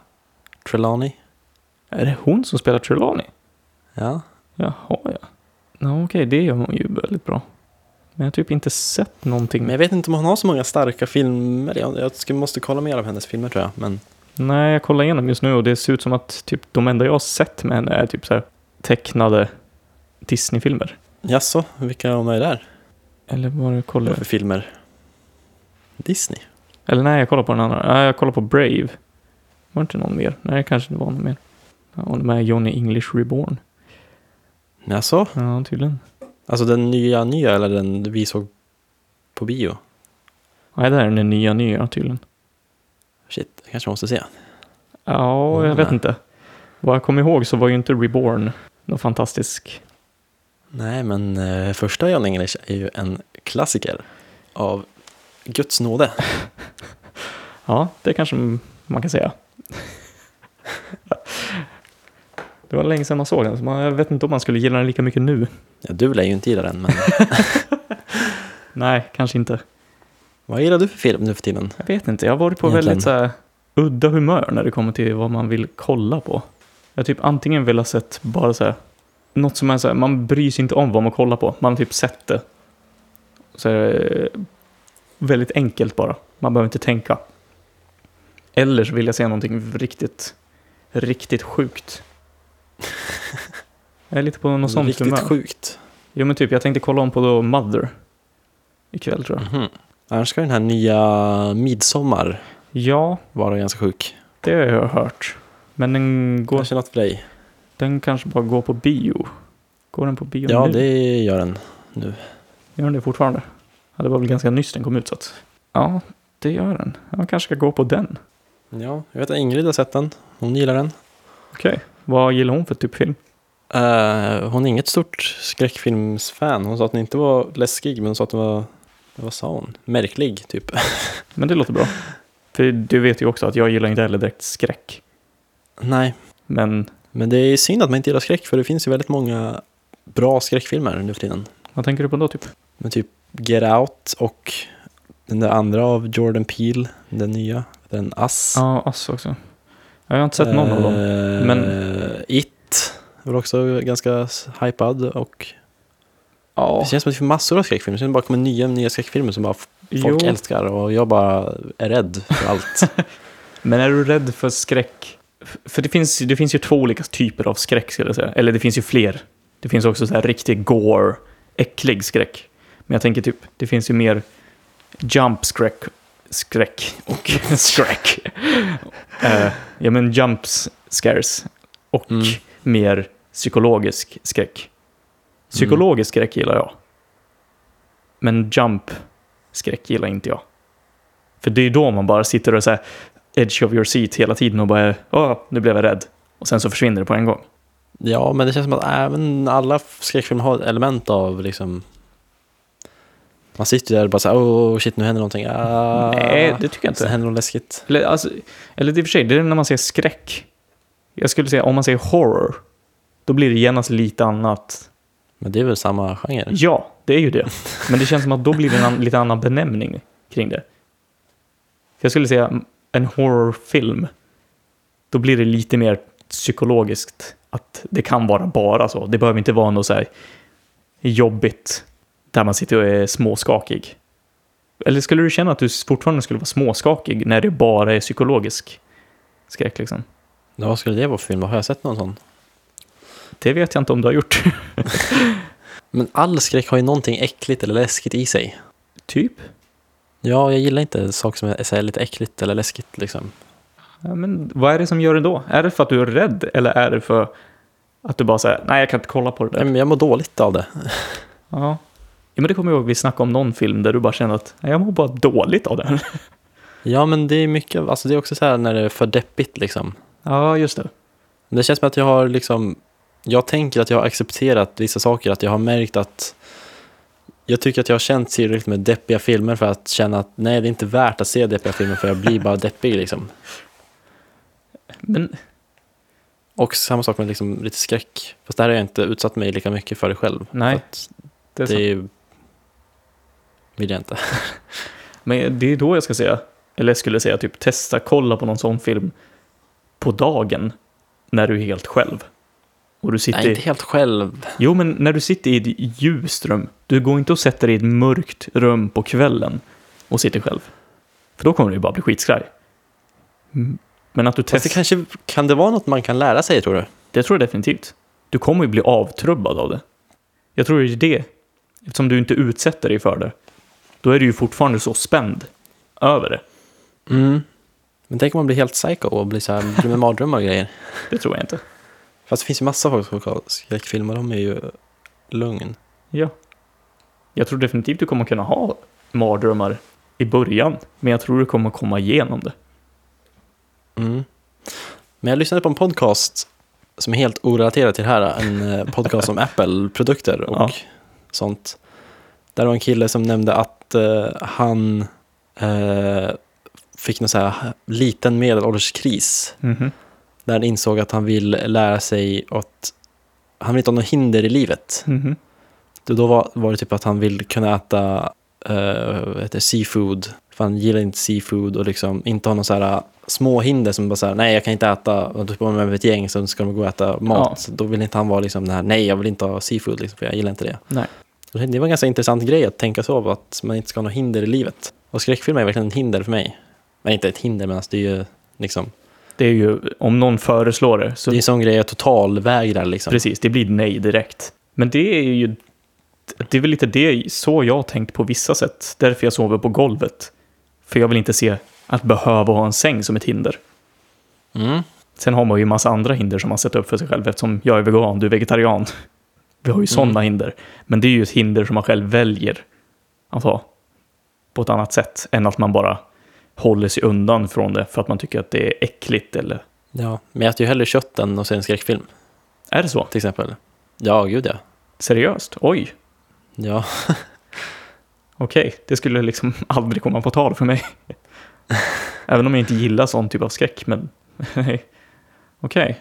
[SPEAKER 2] Trelawney.
[SPEAKER 1] Är det hon som spelar Trelawney?
[SPEAKER 2] Ja,
[SPEAKER 1] Jaha, ja. Nå, Okej, det gör hon ju väldigt bra. Men jag har typ inte sett någonting.
[SPEAKER 2] men jag vet inte om hon har så många starka filmer. Jag, jag ska, måste kolla mer av hennes filmer tror jag. Men
[SPEAKER 1] Nej, jag kollar igenom just nu och det ser ut som att typ de enda jag har sett med henne är typ så här tecknade Disney-filmer.
[SPEAKER 2] jaså, vilka hon är där?
[SPEAKER 1] Eller vad det kollar
[SPEAKER 2] Vad
[SPEAKER 1] jag?
[SPEAKER 2] för filmer? Disney?
[SPEAKER 1] Eller nej, jag kollar på den andra. Nej, jag kollar på Brave. Var det inte någon mer? Nej, det kanske inte var någon mer. Ja, och med Johnny English Reborn.
[SPEAKER 2] Jaså?
[SPEAKER 1] Ja, tydligen.
[SPEAKER 2] Alltså den nya nya eller den vi såg på bio?
[SPEAKER 1] Nej, det här är den nya nya tydligen.
[SPEAKER 2] Shit, jag kanske måste se.
[SPEAKER 1] Ja, jag
[SPEAKER 2] Mm.
[SPEAKER 1] vet inte. Vad jag kommer ihåg så var ju inte Reborn någon fantastisk.
[SPEAKER 2] Nej, men eh, första John English är ju en klassiker av Guds nåde.
[SPEAKER 1] Ja, det kanske m- man kan säga. det var länge sedan man såg den, så man, jag vet inte om man skulle gilla den lika mycket nu.
[SPEAKER 2] Ja, du lär ju inte gilla den, men
[SPEAKER 1] Nej, kanske inte.
[SPEAKER 2] vad gillar du för film nu för tiden?
[SPEAKER 1] Jag vet inte, jag har varit på
[SPEAKER 2] Egentligen.
[SPEAKER 1] väldigt så här, udda humör när det kommer till vad man vill kolla på. Jag har typ antingen vill ha sett bara så här, något som är så här, man bryr sig inte om vad man kollar på, man har typ sett det. Så är det väldigt enkelt bara, man behöver inte tänka. Eller så vill jag se någonting riktigt, riktigt sjukt. Jag är lite på något sånt
[SPEAKER 2] Riktigt
[SPEAKER 1] humör.
[SPEAKER 2] sjukt.
[SPEAKER 1] Jo men typ, jag tänkte kolla om på då Mother ikväll tror jag.
[SPEAKER 2] Mhm. Annars ska den här nya Midsommar
[SPEAKER 1] Ja,
[SPEAKER 2] vara ganska sjuk.
[SPEAKER 1] Det har jag hört. Men den, går,
[SPEAKER 2] Kanske något för dig.
[SPEAKER 1] den kanske bara går på bio. Går den på bio
[SPEAKER 2] Ja,
[SPEAKER 1] nu?
[SPEAKER 2] det gör den.
[SPEAKER 1] Gör den det fortfarande? Ja, det var väl ganska nyss den kom ut så att... Ja, det gör den. Jag kanske ska gå på den.
[SPEAKER 2] Ja, jag vet att Ingrid har sett den. Hon gillar den.
[SPEAKER 1] Okej. Vad gillar hon för typ film?
[SPEAKER 2] Eh, hon är inget stort skräckfilmsfan. Hon sa att den inte var läskig, men hon sa att den var, vad sa hon? Märklig, typ.
[SPEAKER 1] Men det låter bra. För du vet ju också att jag gillar inte heller direkt skräck.
[SPEAKER 2] Nej,
[SPEAKER 1] Men
[SPEAKER 2] men det är synd att man inte gillar skräck, för det finns ju väldigt många bra skräckfilmer nu för tiden.
[SPEAKER 1] vad tänker du på då typ?
[SPEAKER 2] Men typ Get Out och den där andra av Jordan Peele, den nya, den Ass.
[SPEAKER 1] Ja, Ass också. Jag har inte sett någon av dem.
[SPEAKER 2] alltså Eh,
[SPEAKER 1] men-
[SPEAKER 2] It var också ganska s- hypad och
[SPEAKER 1] Ja,
[SPEAKER 2] det känns som att det finns massor av skräckfilmer. Sen bara kommer nya, nya skräckfilmer som bara f- folk
[SPEAKER 1] jo.
[SPEAKER 2] älskar och jag bara är rädd för allt.
[SPEAKER 1] Men är du rädd för skräck? F- För det finns, det finns ju två olika typer av skräck, skulle jag säga. Eller det finns ju fler. Det finns också så här riktig gore, äcklig skräck. Men jag tänker typ, det finns ju mer jump skräck, skräck och skräck. Eh, ja men jumps scares och
[SPEAKER 2] Mm.
[SPEAKER 1] mer psykologisk skräck. Psykologisk skräck gillar jag. Men jump skräck gillar inte jag. För det är ju då man bara sitter och så här edge of your seat hela tiden och bara Åh, nu blev jag rädd. Och sen så försvinner det på en gång.
[SPEAKER 2] ja, men det känns som att även alla skräckfilmer har ett element av liksom man sitter där och bara såhär, oh shit nu händer någonting. Ah.
[SPEAKER 1] Nej, det tycker jag
[SPEAKER 2] Så
[SPEAKER 1] inte.
[SPEAKER 2] händer något läskigt.
[SPEAKER 1] Eller, alltså, eller det är i och för sig, det är när man säger skräck. Jag skulle säga om man säger horror, då blir det genast lite annat.
[SPEAKER 2] Men det är väl samma genre?
[SPEAKER 1] Ja, det är ju det. Men det känns som att då blir det en an- lite annan benämning kring det. För jag skulle säga en horrorfilm, då blir det lite mer psykologiskt. Att det kan vara bara så. Det behöver inte vara något så här jobbigt där man sitter och är småskakig. Eller skulle du känna att du fortfarande skulle vara småskakig när det bara är psykologisk skräck liksom?
[SPEAKER 2] Ja, vad skulle det vara för film? Har jag sett någon sån?
[SPEAKER 1] Det vet jag inte om du har gjort.
[SPEAKER 2] Men all skräck har ju någonting äckligt eller läskigt i sig.
[SPEAKER 1] typ.
[SPEAKER 2] Ja, jag gillar inte saker som är så här lite äckligt eller läskigt liksom.
[SPEAKER 1] Ja, men vad är det som gör det då? Är det för att du är rädd eller är det för att du bara säger nej jag kan inte kolla på det
[SPEAKER 2] Nej,
[SPEAKER 1] där?
[SPEAKER 2] men jag mår dåligt av det.
[SPEAKER 1] Ja. ja men det kommer jag ihåg vi snackade om någon film där du bara kände att nej, jag mår bara dåligt av
[SPEAKER 2] Mm.
[SPEAKER 1] den.
[SPEAKER 2] Ja, men det är mycket, alltså det är också så här när det är för deppigt liksom.
[SPEAKER 1] Ja just det.
[SPEAKER 2] Men Det känns som att jag har liksom, Jag tänker att jag har accepterat vissa saker, att jag har märkt att jag tycker att jag har känt tillräckligt med deppiga filmer för att känna att nej, det är inte värt att se deppiga filmer för jag blir bara deppig liksom.
[SPEAKER 1] Men
[SPEAKER 2] Och samma sak med liksom lite skräck. Fast där har jag inte utsatt mig lika mycket för det själv.
[SPEAKER 1] Nej,
[SPEAKER 2] För att
[SPEAKER 1] Mm, det är sant.
[SPEAKER 2] det vill jag inte.
[SPEAKER 1] Men det är då jag ska säga, eller jag skulle säga typ testa kolla på någon sån film på dagen när du är helt själv. Och du sitter,
[SPEAKER 2] Nej, inte helt själv.
[SPEAKER 1] Jo, men när du sitter i ett ljust rum, du går inte och sätter dig i ett mörkt rum på kvällen och sitter själv. För då kommer du ju bara bli skitskraj. Mm. Men att du
[SPEAKER 2] Fast
[SPEAKER 1] testar,
[SPEAKER 2] det kanske, kan det vara något man kan lära sig tror du?
[SPEAKER 1] det tror jag definitivt. Du kommer ju bli avtrubbad av det. Jag tror det är det, eftersom du inte utsätter dig för det. Då är du ju fortfarande så spänd över det.
[SPEAKER 2] Mm. Men tänk om man blir helt psycho och blir så här, drömmer mardrömmar och grejer.
[SPEAKER 1] Det tror jag inte.
[SPEAKER 2] Fast det finns ju massa folk som kollar skräckfilmer, de är ju lugn.
[SPEAKER 1] Ja. Jag tror definitivt du kommer kunna ha mardrömmar i början, men jag tror du kommer komma igenom det.
[SPEAKER 2] Mm. Men jag lyssnade på en podcast som är helt orelaterad till det här, en eh, podcast om Apple-produkter och
[SPEAKER 1] Ja.
[SPEAKER 2] sånt. Där var en kille som nämnde att eh, han eh, fick någon så här liten medelålderskris där han insåg att han vill lära sig att han vill inte ha något hinder i livet.
[SPEAKER 1] Mm-hmm.
[SPEAKER 2] Då- Då var, var det typ att han vill kunna äta eh, vad heter det, seafood, för han gillar inte seafood och liksom inte ha någon så här små hinder som bara så här, nej jag kan inte äta, och typ om man är med ett gäng så ska de gå och äta mat. Då vill inte han vara liksom den här, nej jag vill inte ha seafood liksom, för jag gillar inte det.
[SPEAKER 1] Nej.
[SPEAKER 2] Och Det var en ganska intressant grej att tänka så, att man inte ska ha något hinder i livet. Och skräckfilmer är verkligen ett hinder för mig. Men inte ett hinder, men alltså det är ju liksom,
[SPEAKER 1] Det är ju, om någon föreslår det, så
[SPEAKER 2] det är en sån grej jag totalvägrar liksom.
[SPEAKER 1] precis, det blir ett nej direkt. Men det är ju, det är väl lite det, så jag har tänkt på vissa sätt. Därför jag sover på golvet. För jag vill inte se att behöva ha en säng som ett hinder.
[SPEAKER 2] Mm.
[SPEAKER 1] Sen har man ju en massa andra hinder som man sätter upp för sig själv eftersom jag är vegan, du är vegetarian. Vi har ju sådana hinder. Men det är ju ett hinder som man själv väljer att ha på ett annat sätt än att man bara håller sig undan från det för att man tycker att det är äckligt eller...
[SPEAKER 2] Ja, men jag äter ju hellre kött än att se en skräckfilm.
[SPEAKER 1] Är det så?
[SPEAKER 2] till exempel. Ja, gud ja.
[SPEAKER 1] Seriöst? Oj,
[SPEAKER 2] Ja,
[SPEAKER 1] okej. Det skulle liksom aldrig komma på tal för mig. Även om jag inte gillar sån typ av skräck, men... Okej.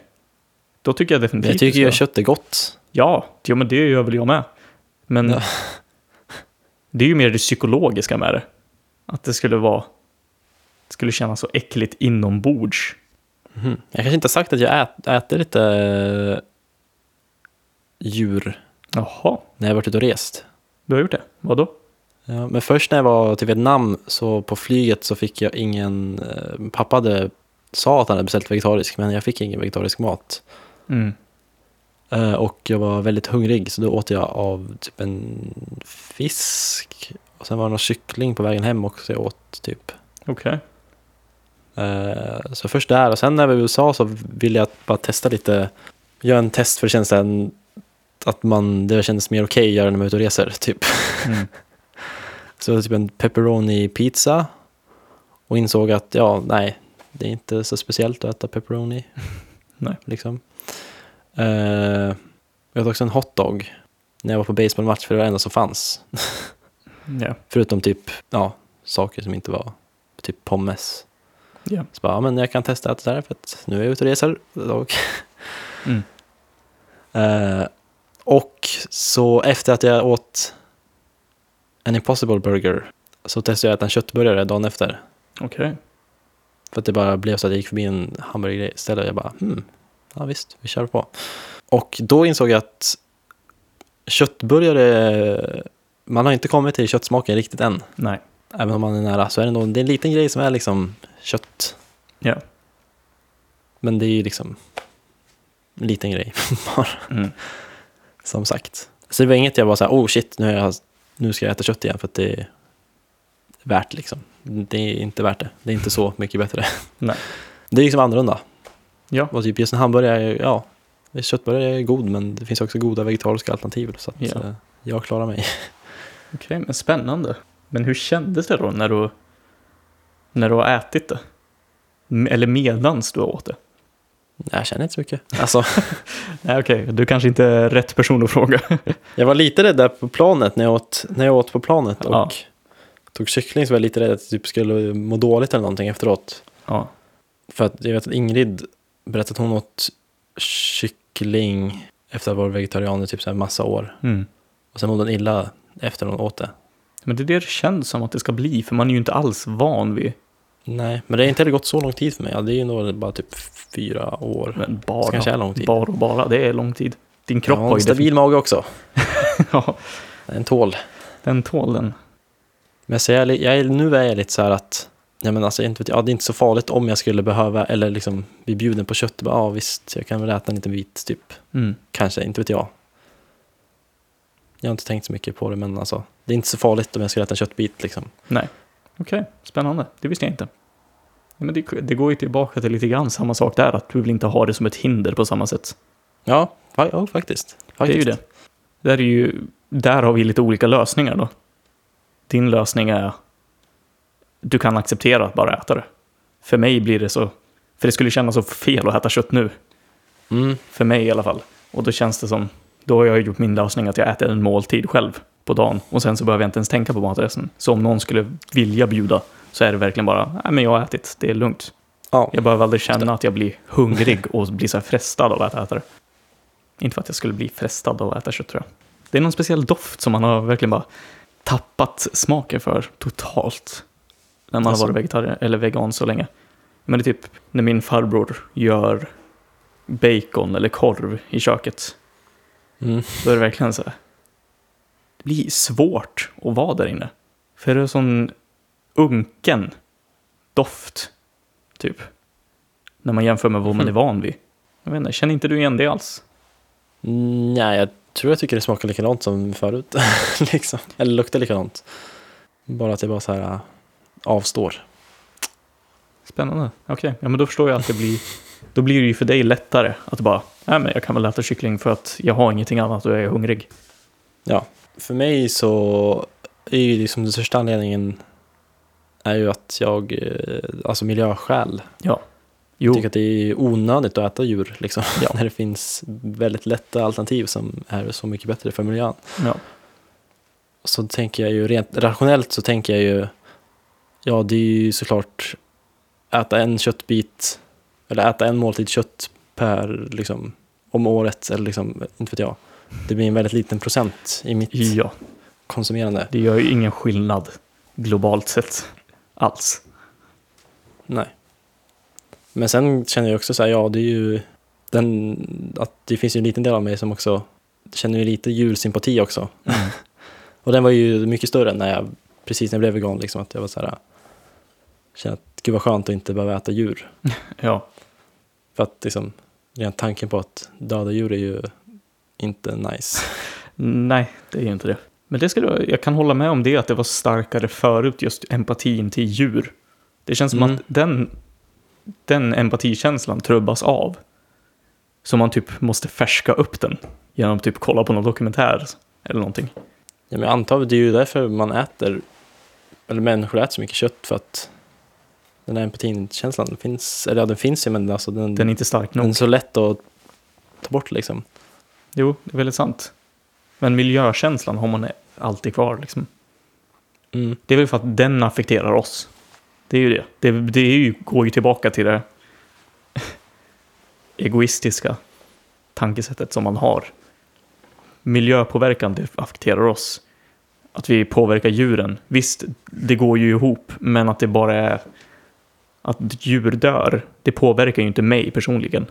[SPEAKER 1] Då tycker jag definitivt...
[SPEAKER 2] jag tycker
[SPEAKER 1] du
[SPEAKER 2] ju
[SPEAKER 1] ska-
[SPEAKER 2] kött är gott.
[SPEAKER 1] Ja, jo, men det gör väl jag med. Men
[SPEAKER 2] Ja.
[SPEAKER 1] det är ju mer det psykologiska med det. Att det skulle vara... Det skulle kännas så äckligt inombords.
[SPEAKER 2] Mhm. Jag kanske inte har sagt att jag ät, äter lite eh, djur
[SPEAKER 1] Jaha,
[SPEAKER 2] när jag varit ute och rest.
[SPEAKER 1] du har gjort det? Vadå?
[SPEAKER 2] Ja, men först när jag var till Vietnam så på flyget så fick jag ingen, eh, pappa hade, sa att han hade beställt vegetarisk men jag fick ingen vegetarisk mat.
[SPEAKER 1] Mm.
[SPEAKER 2] Eh, och jag var väldigt hungrig så då åt jag av typ en fisk och sen var det någon kyckling på vägen hem också jag åt typ.
[SPEAKER 1] Okej.
[SPEAKER 2] Eh, Så först där och sen när vi var i USA så ville jag bara testa lite, göra en test för känslan att man, det kändes mer okej att göra när man är ute och reser. Typ.
[SPEAKER 1] Mm.
[SPEAKER 2] Så det var typ en pepperoni pizza och insåg att ja, nej, det är inte så speciellt att äta pepperoni.
[SPEAKER 1] Nej.
[SPEAKER 2] Liksom. Eh, jag åt också en hotdog när jag var på baseballmatch för det var det enda som fanns.
[SPEAKER 1] Ja.
[SPEAKER 2] Förutom typ, ja, saker som inte var, typ pommes.
[SPEAKER 1] Ja.
[SPEAKER 2] Så bara, ja, men jag kan testa att det där för att nu är jag ute och reser. Och,
[SPEAKER 1] Mm.
[SPEAKER 2] Eh, och så efter att jag åt en impossible burger så testade jag att äta en köttburgare dagen efter.
[SPEAKER 1] Okej.
[SPEAKER 2] För att det bara blev så att jag gick förbi en hamburgerställe och jag bara, hmm, ja visst, vi kör på. Och då insåg jag att köttburgare, man har inte kommit till köttsmaken riktigt än.
[SPEAKER 1] Nej.
[SPEAKER 2] Även om man är nära så är det ändå det är en liten grej som är liksom kött.
[SPEAKER 1] Ja.
[SPEAKER 2] Men det är ju liksom en liten grej bara,
[SPEAKER 1] Mm.
[SPEAKER 2] som sagt. Så det var inget jag var så här, oh shit, nu, har jag, nu ska jag äta kött igen för att det är värt liksom. Det är inte värt det. Det är inte så mycket bättre.
[SPEAKER 1] Nej.
[SPEAKER 2] Det är liksom annorlunda.
[SPEAKER 1] Ja.
[SPEAKER 2] Och typ just en hamburgare, ja, köttburgare är god men det finns också goda vegetariska alternativ. Så att,
[SPEAKER 1] Ja.
[SPEAKER 2] eh, jag klarar mig.
[SPEAKER 1] Okej, men spännande. Men hur kändes det då när du, när du har ätit det? M- Eller medans du har åt det?
[SPEAKER 2] Nej, Jag känner inte så mycket. Alltså,
[SPEAKER 1] Nej, okej. Du kanske inte är rätt person att fråga.
[SPEAKER 2] jag var lite rädd där på planet när jag åt, när jag åt på planet och
[SPEAKER 1] Ja.
[SPEAKER 2] tog cykling så var jag lite rädd att jag typ skulle må dåligt eller någonting efteråt.
[SPEAKER 1] Ja.
[SPEAKER 2] För att jag vet att Ingrid berättade att hon åt kyckling efter att ha varit vegetarian i typ så här massa år.
[SPEAKER 1] Mm.
[SPEAKER 2] Och sen mådde hon illa efter hon åt det.
[SPEAKER 1] Men det är det det känns som att det ska bli, för man är ju inte alls van vid
[SPEAKER 2] Nej, men det har inte heller gått så lång tid för mig. Ja, det är ju nog bara typ fyra år.
[SPEAKER 1] men
[SPEAKER 2] det kanske
[SPEAKER 1] bara,
[SPEAKER 2] är lång tid.
[SPEAKER 1] bara och bara. Det är lång tid. Din
[SPEAKER 2] jag
[SPEAKER 1] kropp
[SPEAKER 2] har
[SPEAKER 1] har
[SPEAKER 2] en
[SPEAKER 1] ju
[SPEAKER 2] stabil mage också.
[SPEAKER 1] definitivt- ja,
[SPEAKER 2] En tål.
[SPEAKER 1] den tål den.
[SPEAKER 2] Men så jag, är li- jag är, nu är jag lite så här att, ja men alltså, inte vet, jag, ja, det är inte så farligt om jag skulle behöva, eller liksom bli bjuden på kött. Bara, ja visst, jag kan väl äta en liten bit typ.
[SPEAKER 1] Mm.
[SPEAKER 2] Kanske, inte vet jag. Jag har inte tänkt så mycket på det, men alltså, det är inte så farligt om jag skulle äta en köttbit liksom.
[SPEAKER 1] Okej, spännande. Det visste jag inte. Ja, men det, det går ju tillbaka till lite grann samma sak där, att du vill inte ha det som ett hinder på samma sätt.
[SPEAKER 2] Ja, fa- ja faktiskt. faktiskt.
[SPEAKER 1] Det är ju det. Där, är ju, där har vi lite olika lösningar då. Din lösning är du kan acceptera att bara äta det. För mig blir det så, för det skulle kännas så fel att äta kött nu.
[SPEAKER 2] Mm,
[SPEAKER 1] För mig i alla fall. Och då känns det som, då har jag gjort min lösning att jag äter en måltid själv på dagen. Och sen så behöver jag inte ens tänka på matresten. Så om någon skulle vilja bjuda så är det verkligen bara, nej men jag har ätit, det är lugnt.
[SPEAKER 2] ja.
[SPEAKER 1] Jag behöver aldrig känna att jag blir hungrig och blir så här frestad av att äta det. Inte för att jag skulle bli frestad av att äta kött tror jag. Det är någon speciell doft som man har verkligen bara tappat smaken för totalt. När man
[SPEAKER 2] Alltså.
[SPEAKER 1] har varit vegetarian eller vegan så länge. Men det är typ när min farbror gör bacon eller korv i köket.
[SPEAKER 2] Mm.
[SPEAKER 1] Då är det verkligen så här. Det blir svårt att vara där inne. För det är sån unken doft, typ. När man jämför med vad man är van vid. Jag vet inte, känner inte du igen det alls?
[SPEAKER 2] Mm, nej, jag tror jag tycker det smakar likadant som förut. liksom. Eller luktar likadant. Bara att jag bara så här äh, avstår.
[SPEAKER 1] Spännande. Okej, ja, men då förstår jag att det blir... Då blir det ju för dig lättare att bara, nej men jag kan väl äta kyckling för att jag har ingenting annat och jag är hungrig.
[SPEAKER 2] För mig så är ju liksom den största anledningen är ju att jag, eh, alltså miljöskäl,
[SPEAKER 1] Jo,
[SPEAKER 2] tycker att det är onödigt att äta djur liksom.
[SPEAKER 1] Ja.
[SPEAKER 2] När det finns väldigt lätta alternativ som är så mycket bättre för miljön.
[SPEAKER 1] ja.
[SPEAKER 2] så tänker jag ju rent rationellt så tänker jag ju, ja det är ju såklart äta en köttbit, eller äta en måltid kött per, liksom, om året eller liksom, inte vet jag. Det blir en väldigt liten procent i mitt
[SPEAKER 1] ja,
[SPEAKER 2] konsumerande.
[SPEAKER 1] det gör ju ingen skillnad globalt sett alls.
[SPEAKER 2] Nej. Men sen känner jag också så här, ja det är ju den, att det finns ju en liten del av mig som också känner ju lite djursympati också. Och den var ju mycket större när jag, precis när jag blev vegan, liksom att jag var så här, kände att gud vad skönt att inte behöva äta djur.
[SPEAKER 1] Ja,
[SPEAKER 2] För att liksom, redan tanken på att döda djur är ju inte nice.
[SPEAKER 1] nej, det är ju inte det. Men det skulle, jag- jag kan hålla med om det, att det var starkare förut, just empatin till djur. Det känns som
[SPEAKER 2] Mm.
[SPEAKER 1] att den, den empatikänslan trubbas av. Så man typ måste färska upp den genom att typ kolla på någon dokumentär eller någonting.
[SPEAKER 2] Ja, men jag antar att det är ju därför man äter, eller människor äter så mycket kött för att den här empatinkänslan finns, eller ja den finns ju men alltså den,
[SPEAKER 1] Den är inte stark nog.
[SPEAKER 2] den är så lätt att ta bort liksom.
[SPEAKER 1] Jo, det är väldigt sant. Men miljökänslan har man alltid kvar liksom.
[SPEAKER 2] Mm.
[SPEAKER 1] Det är väl för att den affekterar oss. Det är ju det. Det, det är ju, går ju tillbaka till det egoistiska tankesättet som man har. Miljöpåverkan, det affekterar oss. Att vi påverkar djuren. Visst, det går ju ihop, men att det bara är att djur dör, det påverkar ju inte mig personligen.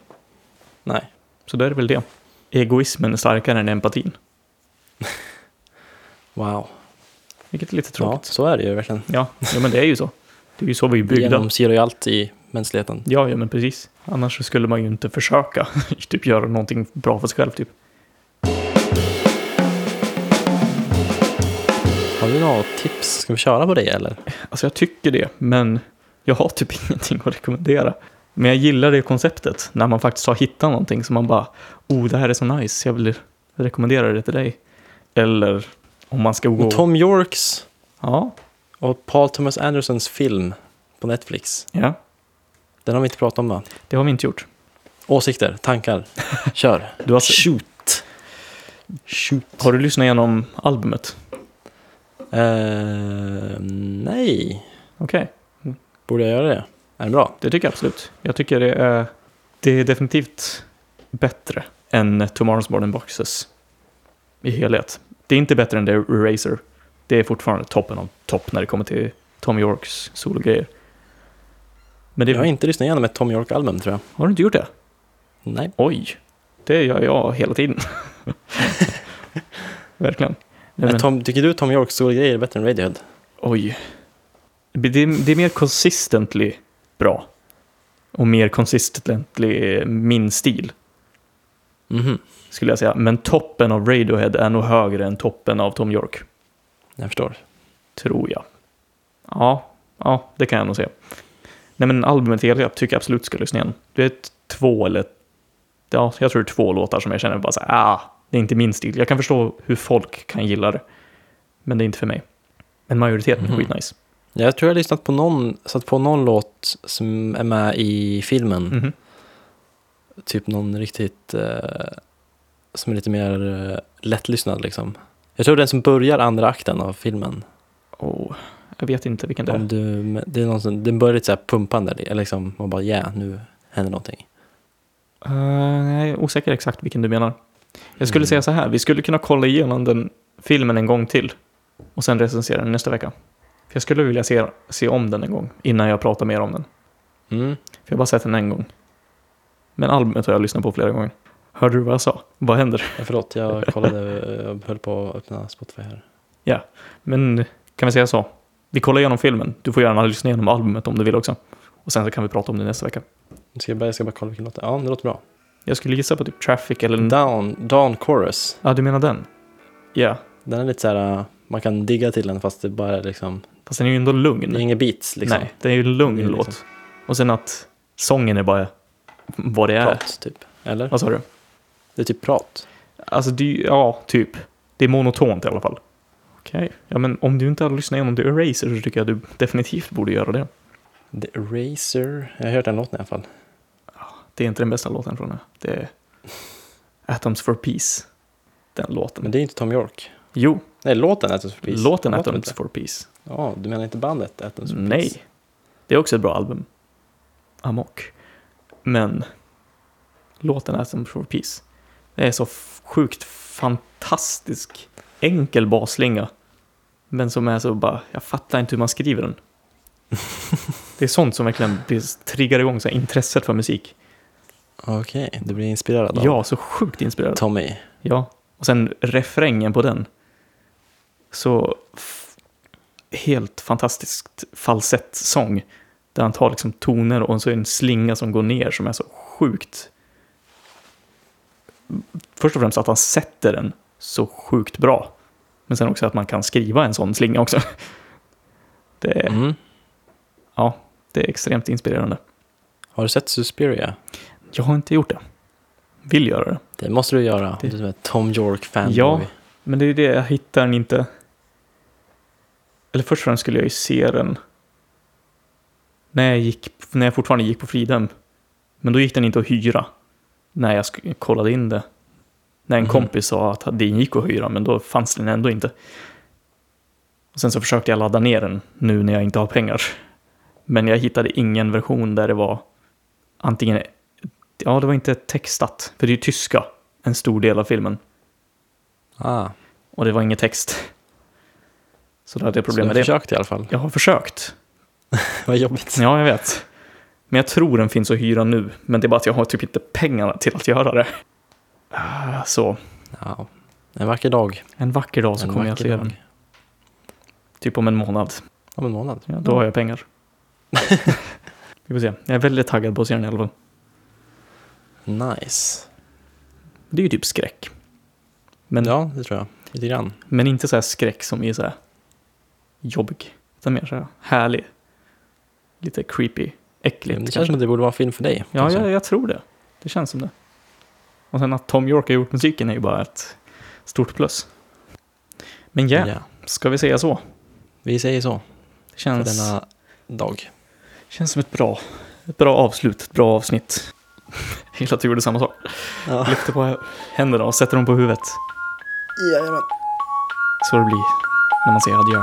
[SPEAKER 2] Nej.
[SPEAKER 1] Så då är det väl det. Egoismen är starkare än empatin,
[SPEAKER 2] Wow.
[SPEAKER 1] vilket är lite
[SPEAKER 2] Ja,
[SPEAKER 1] tråkigt.
[SPEAKER 2] så är det ju verkligen.
[SPEAKER 1] Ja, ja men det är ju så. Det är ju så vi är
[SPEAKER 2] Det
[SPEAKER 1] byggda.
[SPEAKER 2] genomsyrar ju allt i mänskligheten.
[SPEAKER 1] Ja, ja men precis. Annars så skulle man ju inte försöka typ, göra någonting bra för sig själv. Typ.
[SPEAKER 2] Har du några tips? Ska vi köra på det eller?
[SPEAKER 1] Alltså jag tycker det, men jag har typ ingenting att rekommendera. Men jag gillar det konceptet, när man faktiskt har hittat någonting som man bara oh, det här är så nice, jag vill rekommendera det till dig. Eller om man ska gå...
[SPEAKER 2] Men Tom Yorks
[SPEAKER 1] Ja,
[SPEAKER 2] och Paul Thomas Andersons film på Netflix.
[SPEAKER 1] ja,
[SPEAKER 2] Den har vi inte pratat om va?
[SPEAKER 1] det har vi inte gjort.
[SPEAKER 2] Åsikter, tankar, kör.
[SPEAKER 1] Du har,
[SPEAKER 2] Shoot. Shoot.
[SPEAKER 1] har du lyssnat igenom albumet?
[SPEAKER 2] Eh, nej,
[SPEAKER 1] Okej,
[SPEAKER 2] borde jag göra det? Är det bra?
[SPEAKER 1] det tycker jag absolut. Jag tycker det är, det är definitivt bättre än Tomorrow's Modern Boxes i helhet. Det är inte bättre än The Eraser. Det är fortfarande toppen av topp när det kommer till Tom Yorks sologrejer. Men det,
[SPEAKER 2] Jag har inte lyssnat igenom ett Tom York-album tror jag.
[SPEAKER 1] har du inte gjort det?
[SPEAKER 2] Nej.
[SPEAKER 1] Oj, det gör jag hela tiden. Verkligen. Nej,
[SPEAKER 2] Men
[SPEAKER 1] men,
[SPEAKER 2] Eh, Tom, tycker du Tom Yorks stora grejer är bättre än Radiohead?
[SPEAKER 1] oj. Det, det är- det är mer consistently bra. Och mer consistently min stil,
[SPEAKER 2] Mhm,
[SPEAKER 1] skulle jag säga. Men toppen av Radiohead är nog högre än toppen av Tom York,
[SPEAKER 2] jag förstår.
[SPEAKER 1] tror jag. Ja, ja det kan jag nog säga. Nej, men albumet i helhet tycker jag absolut ska lyssna igen. Det är ett- två eller... Ja, jag tror det är två låtar som jag känner bara så här, ah, det är inte min stil. Jag kan förstå hur folk kan gilla det, men det är inte för mig. Men majoriteten är
[SPEAKER 2] Mhm.
[SPEAKER 1] skitnice.
[SPEAKER 2] Jag tror jag har lyssnat på någon, satt på någon låt som är med i filmen.
[SPEAKER 1] Mhm.
[SPEAKER 2] Typ någon riktigt, eh, som är lite mer eh, lättlyssnad liksom. Jag tror den som börjar andra akten av filmen.
[SPEAKER 1] Oh, jag vet inte vilken det
[SPEAKER 2] Om
[SPEAKER 1] är.
[SPEAKER 2] du, det är någon som, den börjar lite så här pumpande, eller liksom, man bara ja, nu händer någonting.
[SPEAKER 1] Eh, jag är osäker exakt vilken du menar. Jag skulle
[SPEAKER 2] Mm.
[SPEAKER 1] säga så här, vi skulle kunna kolla igenom den filmen en gång till och sen recensera den nästa vecka. För jag skulle vilja se, se om den en gång innan jag pratar mer om den.
[SPEAKER 2] Mm.
[SPEAKER 1] För jag har bara sett den en gång. Men albumet har jag lyssnat på flera gånger. Hörde du vad jag sa? Vad händer?
[SPEAKER 2] Ja, Förlåt, jag kollade, eh, jag höll på att öppna Spotify här.
[SPEAKER 1] Men kan vi säga så? Vi kollar igenom filmen. Du får gärna lyssna igenom albumet om du vill också. Och sen så kan vi prata om det nästa vecka.
[SPEAKER 2] Jag ska, jag bara- jag ska bara kolla vilken låt det är. Ja, det låter bra.
[SPEAKER 1] Jag skulle gissa på typ Traffic eller...
[SPEAKER 2] Mm. Down, Dawn Chorus.
[SPEAKER 1] Ja, du menar den? Ja,
[SPEAKER 2] Den är lite så här, man kan digga till den fast det bara är liksom,
[SPEAKER 1] fast den är ju ändå lugn.
[SPEAKER 2] det är inga beats liksom.
[SPEAKER 1] Nej, det är ju en lugn
[SPEAKER 2] Det är
[SPEAKER 1] låt.
[SPEAKER 2] liksom-
[SPEAKER 1] Och sen att sången är bara vad det är.
[SPEAKER 2] Prat typ, eller?
[SPEAKER 1] Vad sa du?
[SPEAKER 2] Det är typ prat.
[SPEAKER 1] Alltså, det, är ju- ja, typ. Det är monotont i alla fall. Okej, ja men om du inte har lyssnat igenom The Eraser så tycker jag du definitivt borde göra det.
[SPEAKER 2] The Eraser, jag har hört den låten i alla fall.
[SPEAKER 1] Det är inte den bästa låten från det. Det är Atoms for Peace. Den låten.
[SPEAKER 2] Men det är inte Tom York.
[SPEAKER 1] Jo,
[SPEAKER 2] Nej, låten Atoms for Peace.
[SPEAKER 1] låten
[SPEAKER 2] Låter
[SPEAKER 1] Atoms
[SPEAKER 2] inte.
[SPEAKER 1] for Peace.
[SPEAKER 2] Ja, du menar inte bandet Atoms for Peace?
[SPEAKER 1] Nej. Det är också ett bra album. Amok. Men låten Atoms for Peace. Det är så f- sjukt fantastisk enkel basslinga. Men som är så bara, jag fattar inte hur man skriver den. det är sånt som verkligen blir- triggar igång så här, intresset för musik.
[SPEAKER 2] Okej, du blir inspirerad av
[SPEAKER 1] Ja, så sjukt inspirerad.
[SPEAKER 2] Tommy.
[SPEAKER 1] Ja, och sen refrängen på den. Så f- helt fantastiskt falsettsång. Där han tar liksom toner och så är det en slinga som går ner som är så sjukt. Först och främst att han sätter den så sjukt bra. Men sen också att man kan skriva en sån slinga också. Det är,
[SPEAKER 2] Mm.
[SPEAKER 1] ja, det är extremt inspirerande.
[SPEAKER 2] Har du sett Suspiria?
[SPEAKER 1] Jag har inte gjort det. Vill göra det.
[SPEAKER 2] Det måste du göra
[SPEAKER 1] Det-
[SPEAKER 2] om du är Tom York-fanboy.
[SPEAKER 1] Ja. Men det är ju det, jag hittar den inte. Eller först och främst skulle jag ju se den när jag, gick, när jag fortfarande gick på Fridhem. Men då gick den inte att hyra. När jag sk- kollade in det. När en
[SPEAKER 2] Mhm.
[SPEAKER 1] kompis sa att det gick att hyra, men då fanns den ändå inte. Och sen så försökte jag ladda ner den nu när jag inte har pengar. Men jag hittade ingen version där det var antingen... Ja, det var inte textat, för det är ju tyska en stor del av filmen.
[SPEAKER 2] Ah,
[SPEAKER 1] Och det var ingen text. Så då hade jag
[SPEAKER 2] så
[SPEAKER 1] problem
[SPEAKER 2] du
[SPEAKER 1] med
[SPEAKER 2] har
[SPEAKER 1] det.
[SPEAKER 2] försökt i alla fall.
[SPEAKER 1] Jag har försökt.
[SPEAKER 2] Vad jobbigt.
[SPEAKER 1] Ja, jag vet. Men jag tror den finns att hyra nu. Men det är bara att jag har typ inte pengarna till att göra det. Ah, Så,
[SPEAKER 2] Ja. En vacker dag.
[SPEAKER 1] en vacker dag så
[SPEAKER 2] en
[SPEAKER 1] kommer jag
[SPEAKER 2] vacker
[SPEAKER 1] se den.
[SPEAKER 2] dag.
[SPEAKER 1] Typ om en månad.
[SPEAKER 2] Om en månad.
[SPEAKER 1] Ja, då har jag pengar. Vi får se. Jag är väldigt taggad på att se den i alla fall.
[SPEAKER 2] Nice.
[SPEAKER 1] Det är ju typ skräck. Men,
[SPEAKER 2] Ja, det tror jag. Lite grann.
[SPEAKER 1] men inte så här skräck som är så här jobbig. Utan mer så här härlig. Lite creepy. Äckligt
[SPEAKER 2] Det känns
[SPEAKER 1] kanske.
[SPEAKER 2] som att det borde vara en film för dig.
[SPEAKER 1] Ja,
[SPEAKER 2] kanske.
[SPEAKER 1] jag, jag tror det. Det känns som det. Och sen att Tom York har gjort musiken är ju bara ett stort plus. Men ja,
[SPEAKER 2] Ja.
[SPEAKER 1] ska vi säga så?
[SPEAKER 2] Vi säger så
[SPEAKER 1] Det
[SPEAKER 2] för
[SPEAKER 1] känns,
[SPEAKER 2] denna dag.
[SPEAKER 1] känns som ett bra, ett bra avslut, ett bra avsnitt. Jag gillar att du gjorde samma sak.
[SPEAKER 2] Ja.
[SPEAKER 1] Lyfter på händerna och sätter dem på huvudet.
[SPEAKER 2] Jajamän.
[SPEAKER 1] Så det blir när man säger adjö.